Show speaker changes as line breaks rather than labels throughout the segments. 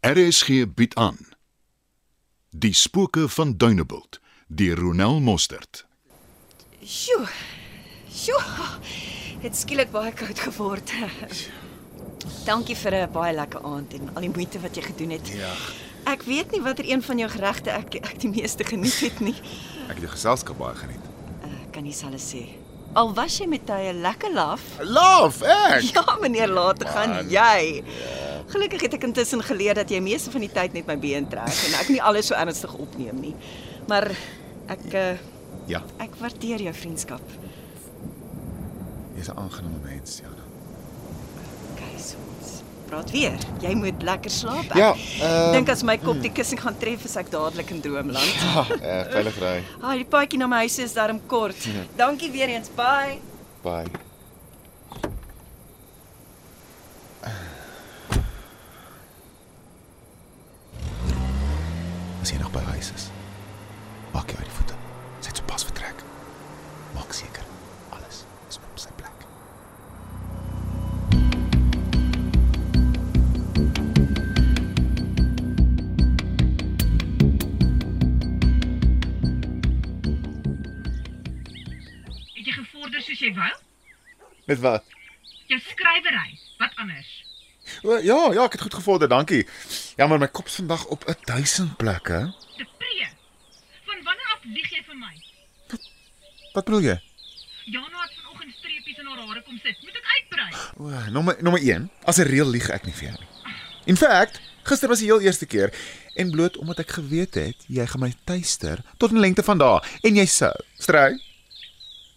RSG bied aan Die spooke van Dunebuld deur Ronel Mostert.
Sjoe. Sjoe. Het skielik baie koud geword. Dankie vir 'n baie lekker aand en al die moeite wat jy gedoen het.
Ja.
Ek weet nie watter een van jou geregte ek ek die meeste geniet het nie.
Ek het jou geselskap baie geniet.
Uh, kan nie selfe sê. Al was jy met tye lekker laf.
Love ek.
Ja, meneer, later gaan
Man. Ja.
jy. Gelukkig het ek intussen geleer dat jy meeste van die tyd net my been trek en ek nie alles so ernstig opneem nie. Maar ek uh,
Ja,
ek waardeer jou vriendskap.
jy's 'n aangename mens, ja. Jana.
Okay, so ons praat weer. Jy moet lekker slaap. Ek
Ja, ehm,
dink as my kop die kussing gaan tref, is ek dadelik in droomland.
Ah, eh, veilig ry.
Ah, die paadjie na my huis is darm kort.
Ja.
Dankie weer eens. Bye.
Bye. As jy nog by huis is, maak jou uit die voete. Sy het sopas vertrek. Maak seker alles is op sy plek.
Het jy gevorder soos jy wou?
Met wat?
Jou skrywery, wat anders?
O, ja, ja, ek het goed gevorder, dankie. Ja, maar my kop's vandag op 1000 plekke.
Te pree. Van wanneer af lieg jy vir my?
Wat bedoel jy?
Jana het vanoggend streepies in haar hare kom sit. Moet ek uitbrei?
O, nommer nommer 1. As 'n reël lieg ek nie vir jou nie. In fact, gister was die heel eerste keer en bloot omdat ek geweet het jy gaan my tuister tot 'n lengte van dae en jy sou stry.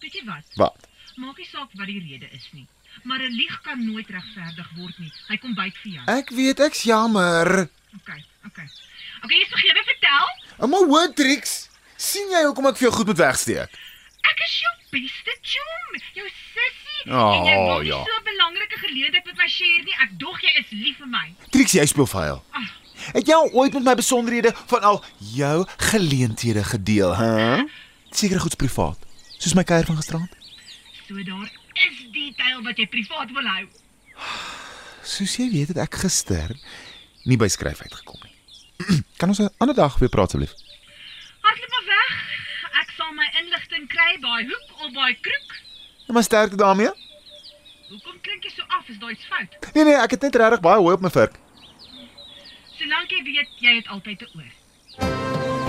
Weet jy wat?
Wat?
Maak nie saak wat die rede is nie. Maar 'n lieg kan nooit regverdig word nie. Hy kom byt vir jou.
Ek weet ek's jammer.
Okay, okay. Okay, jy's vergewe vertel.
Maar hoor Trix, sien jy hoekom ek vir jou goed moet wegsteek?
Ek is jou beste chum, jou sussie.
Oh,
en jy wil nie
ja.
so 'n belangrike geleentheid met my share nie. Ek dog jy is lief vir my.
Trix, jy speel vuil. Het jy al ooit met my besonderhede van al jou geleenthede gedeel, hè? Huh? Seker goeds privaat, soos my kuier van gisterand.
So daar is detail wat jy privaat wil hou.
Soos jy weet het ek gister nie by skryf uitgekom nie. kan ons 'n ander dag weer praat asseblief?
Hardloop maar weg. Ek sal my inligting kry by hoek of by kroeg.
Nou maar sterkte daarmee.
Hoekom klink jy so af? Is daai's fout?
Nee nee, ek het net regtig baie hooi op my vurk.
Solank jy weet jy het altyd 'n oor.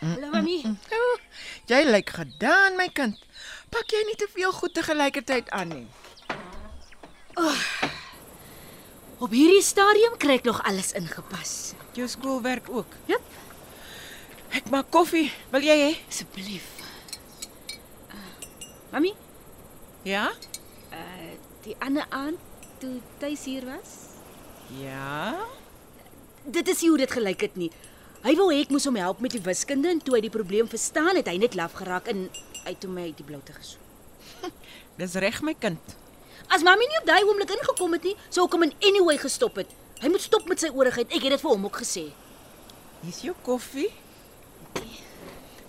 Hallo mami.
Oh, jy lyk gedaan my kind. Pak jy nie te veel goed te gelykertyd aan nie.
Op hierdie stadium kry ek nog alles ingepas.
Jou skoolwerk ook.
Jep.
Ek maak koffie. Wil jy hê?
Asseblief. Uh, Mami,
Ja?
uh die ander aand toe tuis hier was,
Ja.
dit is nie hoe dit gelyk het nie. Hy wou hê ek moes hom help met die wiskunde en toe hy die probleem verstaan het, hy net laf geraak en uit toe my uit die bloute gesoek.
Dis reg my kind.
As mami nie op daai oomblik ingekom het nie, sou ek hom in anyway gestop het. Hy moet stop met sy oorigheid. Ek het dit vir hom ook gesê.
Hier's jou koffie.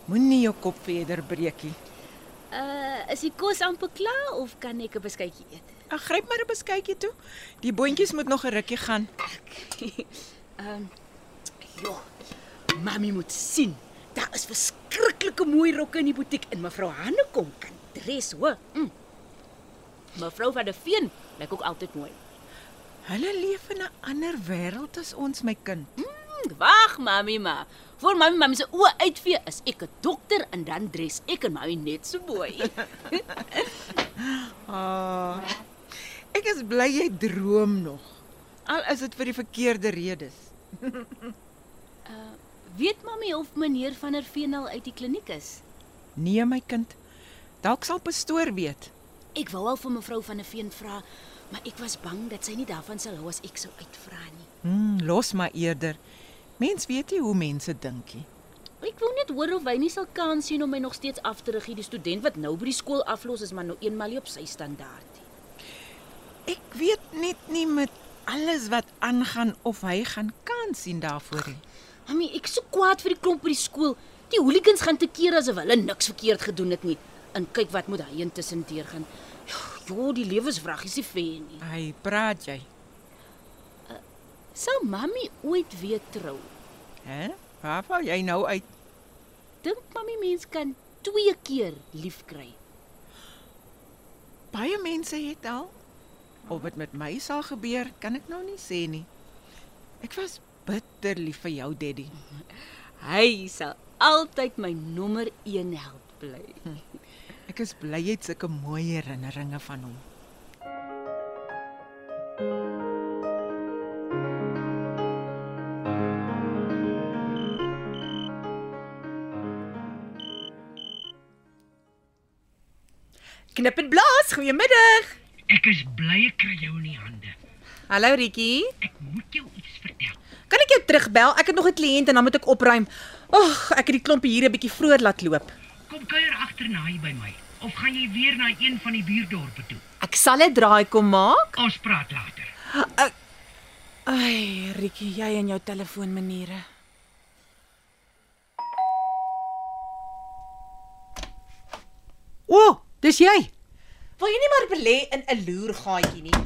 Moenie jou kop verder breekie.
Uh, is die kos amper klaar of kan ek 'n beskuitjie eet?
Ag gryp maar 'n beskuitjie toe. Die boontjies moet nog 'n rukkie gaan.
Ehm ja. Mamy moet sien. Daar is verskriklike mooi rokke in die butiek en mevrou Hanne kom kan dres hoor. Mm. Mevrou van der Veen lyk ook altyd mooi.
Hulle leef in 'n ander wêreld as ons my kind.
Mm, Wag, mamy maar. Voor mamy mamy se oë uitvee is ek 'n dokter en dan dres ek en mamy net so mooi.
Ah. Ek is bly jy droom nog. Al is dit vir die verkeerde redes.
Weet mamy of meneer van der Veen al uit die kliniek is?
Nee my kind. Dalk sal pastoor weet.
Ek wou al vir mevrou van der Veen vra, maar ek was bang dat sy nie daarvan sal hou as ek sou uitvra nie.
Hmm, los maar eerder. Mens weet nie hoe mense dink nie.
Ek wou net hoor of hy nie sal kans sien om my nog steeds af te rig hierdie student wat nou by die skool aflos is maar nou eenmal nie op sy standaard nie.
Ek weet net nie met alles wat aangaan of hy gaan kans sien daarvoor nie.
Mamy, ek is so kwaad vir die klomp by die skool. Die hooligans gaan te keer asof hulle niks verkeerd gedoen het nie. En kyk wat moet hy intussen deur gaan. Jo, die lewensvrag is nie fair nie.
Ai, praat jy?
Sou mami ooit weer trou?
Hè? Waar val jy nou uit?
Dink mami mens kan twee keer lief kry?
Baie mense het al. Of dit met my sal gebeur, kan ek nou nie sê nie. Ek was bitter lief vir jou, Daddy.
Hy sal altyd my nommer 1 held bly.
Ek is bly jy het sulke mooi herinneringe van hom.
Knip en blaas, goeiemiddag.
Ek is bly ek kry jou in die hande.
Hallo Rietjie.
Ek moet jou iets vertel.
Kan ek jou terugbel? Ek het nog 'n kliënt en dan moet ek opruim. Ag, ek het die klompie hier 'n bietjie vroeg laat loop.
Kom kuier agterna hier by my of gaan jy weer na een van die buurdorpe toe?
Ek sal 'n draai kom maak.
Ons praat later.
Ai, Rietjie, jy en jou telefoonmaniere.
O, oh, dis jy.
Wil jy nie maar belê in 'n loergaatjie nie?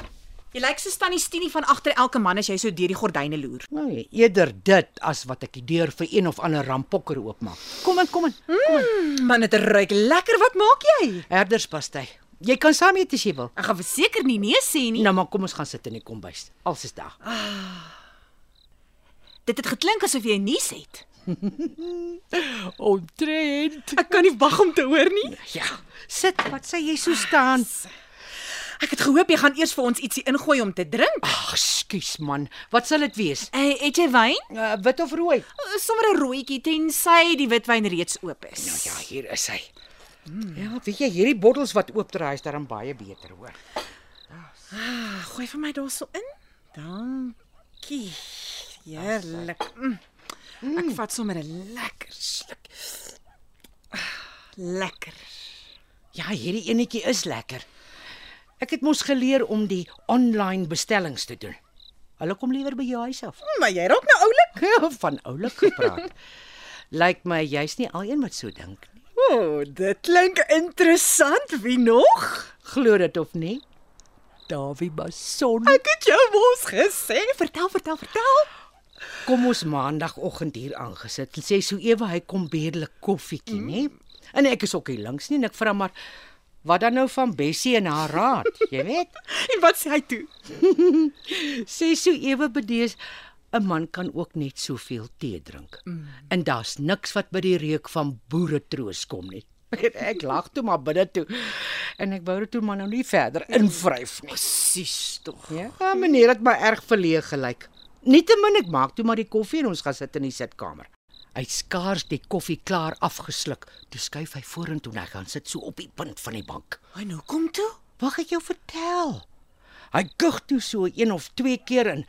Jy lyk so tannie Stinie van agter elke man as jy so deur die gordyne loer.
Nee, eerder dit as wat ek die deur vir een of ander rampokker oopmaak. Kom in, kom in. Kom in.
Man, dit Hmm, ruik lekker. Wat maak jy?
Herderspastei. Jy kan saam eet as jy wil.
Ek gaan verseker nie nee sê nie. Ah.
Nou maar kom ons gaan sit in die kombuis. Alles is daar.
Dit het geklink asof jy 'n nuus het.
Ontrent.
Ek kan nie wag om te hoor nie.
Ja, sit. Wat sê jy so staan?
Ek het gehoop jy gaan eers vir ons ietsie ingooi om te drink.
Ag, skus man. Wat sal dit wees?
Uh, het jy wyn?
Uh, wit of rooi?
Uh, Sommer 'n rooitjie tensy die witwyn reeds oop is.
Nou ja, hier is hy. Ja, weet jy hierdie bottels wat oopdraai is daarom baie beter, hoor.
Ah, Gooi vir my daarso in. Dankie. Heerlik. Mm. Ek vat sommer 'n lekker sluk. Ah, Lekker.
Ja, hierdie enetjie is lekker. Ek het mos geleer om die online bestellings te doen. Hulle kom liewer by jou huis af.
Maar jy raak nou oulik.
Van oulik gepraat. Lyk my jy's nie al een wat so dink nie.
O, oh, dit klink interessant. Wie nog?
Glo dit of nie? Dawie Mason.
Ek het jou mos gesê, vertel, vertel, vertel.
Kom ons maandagooggend hier aangesit. Sê so ewe hy kom bedelik koffietjie, nê? En ek is ook hier langs nie en ek vra maar wat dan nou van Bessie en haar raad, jy weet?
En wat sê hy toe?
Sê so ewe bedees 'n man kan ook net soveel tee drink. Mm. En daar's niks wat by die reuk van boere troos kom nie. En ek lag toe maar binne toe. En ek wou dit toe maar nou nie verder invryf nie.
Mm. Presies tog.
Ja, ah, meneer het my erg verleeg gelyk. Nietemin ek maak toe maar die koffie en ons gaan sit in die sitkamer. Hy het skaars die koffie klaar afgesluk, toe skuif hy vorentoe en hy gaan sit so op die punt van die bank.
En hoe kom toe?
Wag ek jou vertel. Hy kug toe so een of twee keer en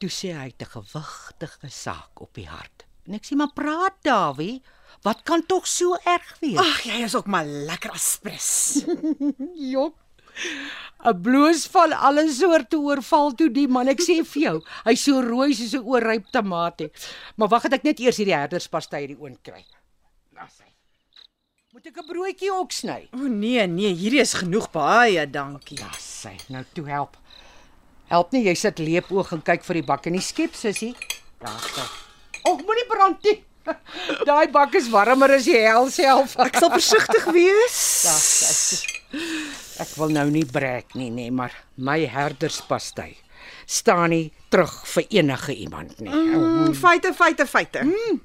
toe sê hy te gewigtige saak op die hart. En ek sê maar praat Dawie, wat kan tog so erg wees?
Ag, jy is ook maar lekker aspres.
jok. 'n Bloos van alle soorte oorval toe die man. Ek sê vir jou, hy's so rooi soos 'n oorryp tamatie. Maar wag, het ek net eers hierdie herderspastei uit die oond kry.
Nou
Nas hy. Moet ek 'n broodjie ook sny?
O nee, nee, hierdie is genoeg baie, dankie.
Ja, sy, nou toe help. Help nie, jy sit leepoog en kyk vir die bak en die skep sussie. Daar sy. Och, moenie brand nie. Daai bak is warmer as die hel self.
Ek sal versigtig
Dag,
wees.
ek, ek wil nou nie breek nie, nê, maar my herderspastei staan nie terug vir enige iemand nie.
Mm, feite, feite, feite. Mm.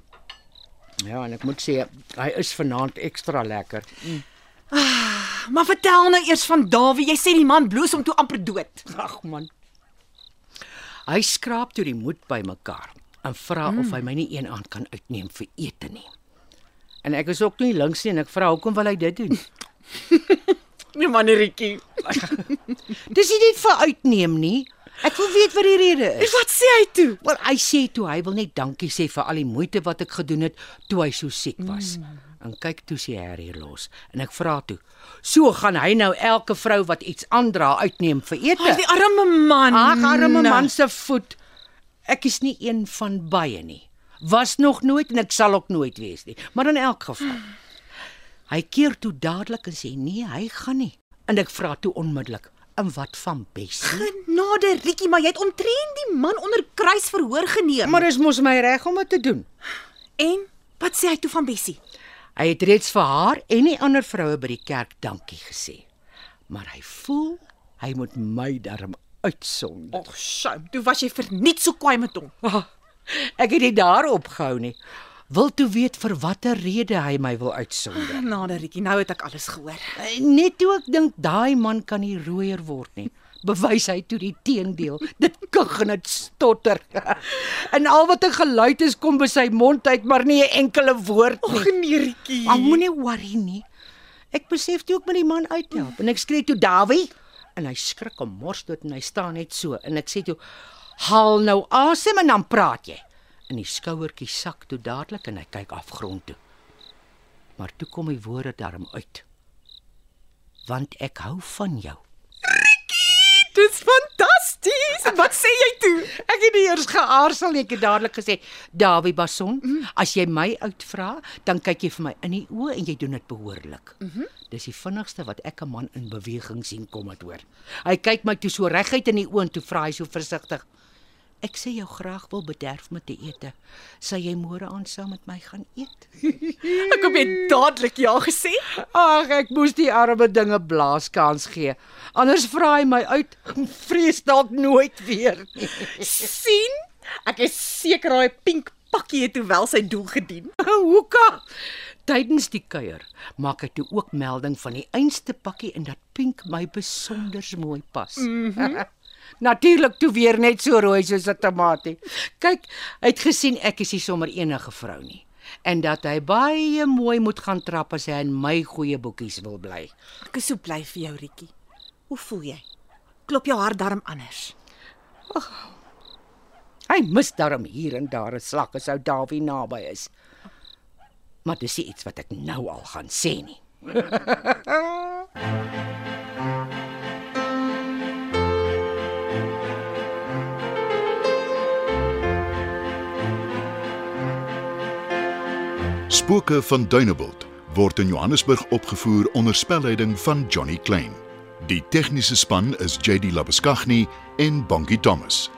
Ja, en ek moet sê hy is vanaand ekstra lekker.
Maar vertel nou eers van Dawie. Jy sê die man bloos om toe amper dood.
Ag man. Hy skraap toe die moed bymekaar en vra mm. of hy my nie een aand kan uitneem vir ete nie. En ek is ook nie links nie en ek vra hoekom wil hy dit doen?
Nee manieretjie.
Dis nie net vir uitneem nie. Ek wil weet wat die rede is.
En wat sê hy toe?
Wel, hy sê toe hy wil net dankie sê vir al die moeite wat ek gedoen het toe hy so siek was. Mm. En kyk toe sê Harry los en ek vra toe, "So gaan hy nou elke vrou wat iets aandra uitneem vir
Hy
ete?"
die arme man. Nou.
Ag, arme man se voet. Ek is nie een van baie nie. Was nog nooit en ek sal ook nooit wees nie. Maar in elk geval. Hy keer toe dadelik en sê nee, hy gaan nie. En ek vra toe onmiddellik, "En wat van Bessie?"
Genade, Rikkie, maar jy het omtrent die man onder kruisverhoor geneem.
Maar dis mos my reg om dit te doen.
en wat sê hy toe van Bessie?
Hy het reeds vir haar en die ander vroue by die kerk dankie gesê. Maar hy voel hy moet my darm uitsonder.
Ag, sjoe, toe was jy verniet so kwaai met hom.
Ah, Ek het nie daarop gehou nie. Wil toe weet vir watter rede hy my wil uitsonder.
Genade, Rikkie, nou het ek alles gehoor.
Eh, Net toe ek dink daai man kan nie rooier word nie, bewys hy toe die teendeel. Dit kug en dit stotter. En al wat 'n geluid is kom by sy mond uit, maar nie 'n enkele woord nie.
nee, Rikkie.
Maar moenie worry nie. Ek besef toe ek met die man uithelp en ek skree toe Dawie en hy skrik om mors dood en hy staan net so en ek sê toe haal nou asem en dan praat jy. En die skouertjie sak toe dadelik en hy kyk afgrond toe. Maar toe kom die woorde daarom uit. Want ek hou van jou.
Dis fantasties. En wat sê jy toe?
Ek het nie eers geaarsel nie, ek het dadelik gesê, "Dawie Bason, mm.
Mhm.
as jy my uitvra, dan kyk jy vir my in die oë en jy doen dit behoorlik." Mm
Mhm.
-hmm. Dis die vinnigste wat ek 'n man in beweging sien kom het hoor. Hy kyk my toe so reguit in die oë en toe vra hy so versigtig, "Ek sê jou graag wil bederf met 'n ete. Sal jy môre aan saam met my gaan eet?"
Ek het net dadelik ja gesê.
Ag, ek moes die arme dinge blaaskans gee. Anders vra hy my uit, vrees dalk nooit weer nie.
sien? Ek is seker daai pink pakkie het hoewel sy doel gedien.
Hoeka. Tydens die kuier maak hy toe ook melding van die einste pakkie en dat pink my besonder mooi pas. Mm
Mhm.
-hmm. Natuurlik toe weer net so rooi soos 'n tamatie. Kyk, hy het gesien ek is nie sommer enige vrou nie en dat hy baie mooi moet gaan trap as hy in my goeie boekies wil bly.
Ek is so bly vir jou, Rietjie. Hoe voel jy? Klop jou hart darm anders?
Hy mis daarom hier en daar 'n slag as ou Dawie naby is. Maar dis nie iets wat ek nou al gaan sê nie.
Spooke van Duneveld word in Johannesburg opgevoer onder spelleiding van Johnny Klein. Die tegniese span is JD Labuskaghni en Bongie Thomas.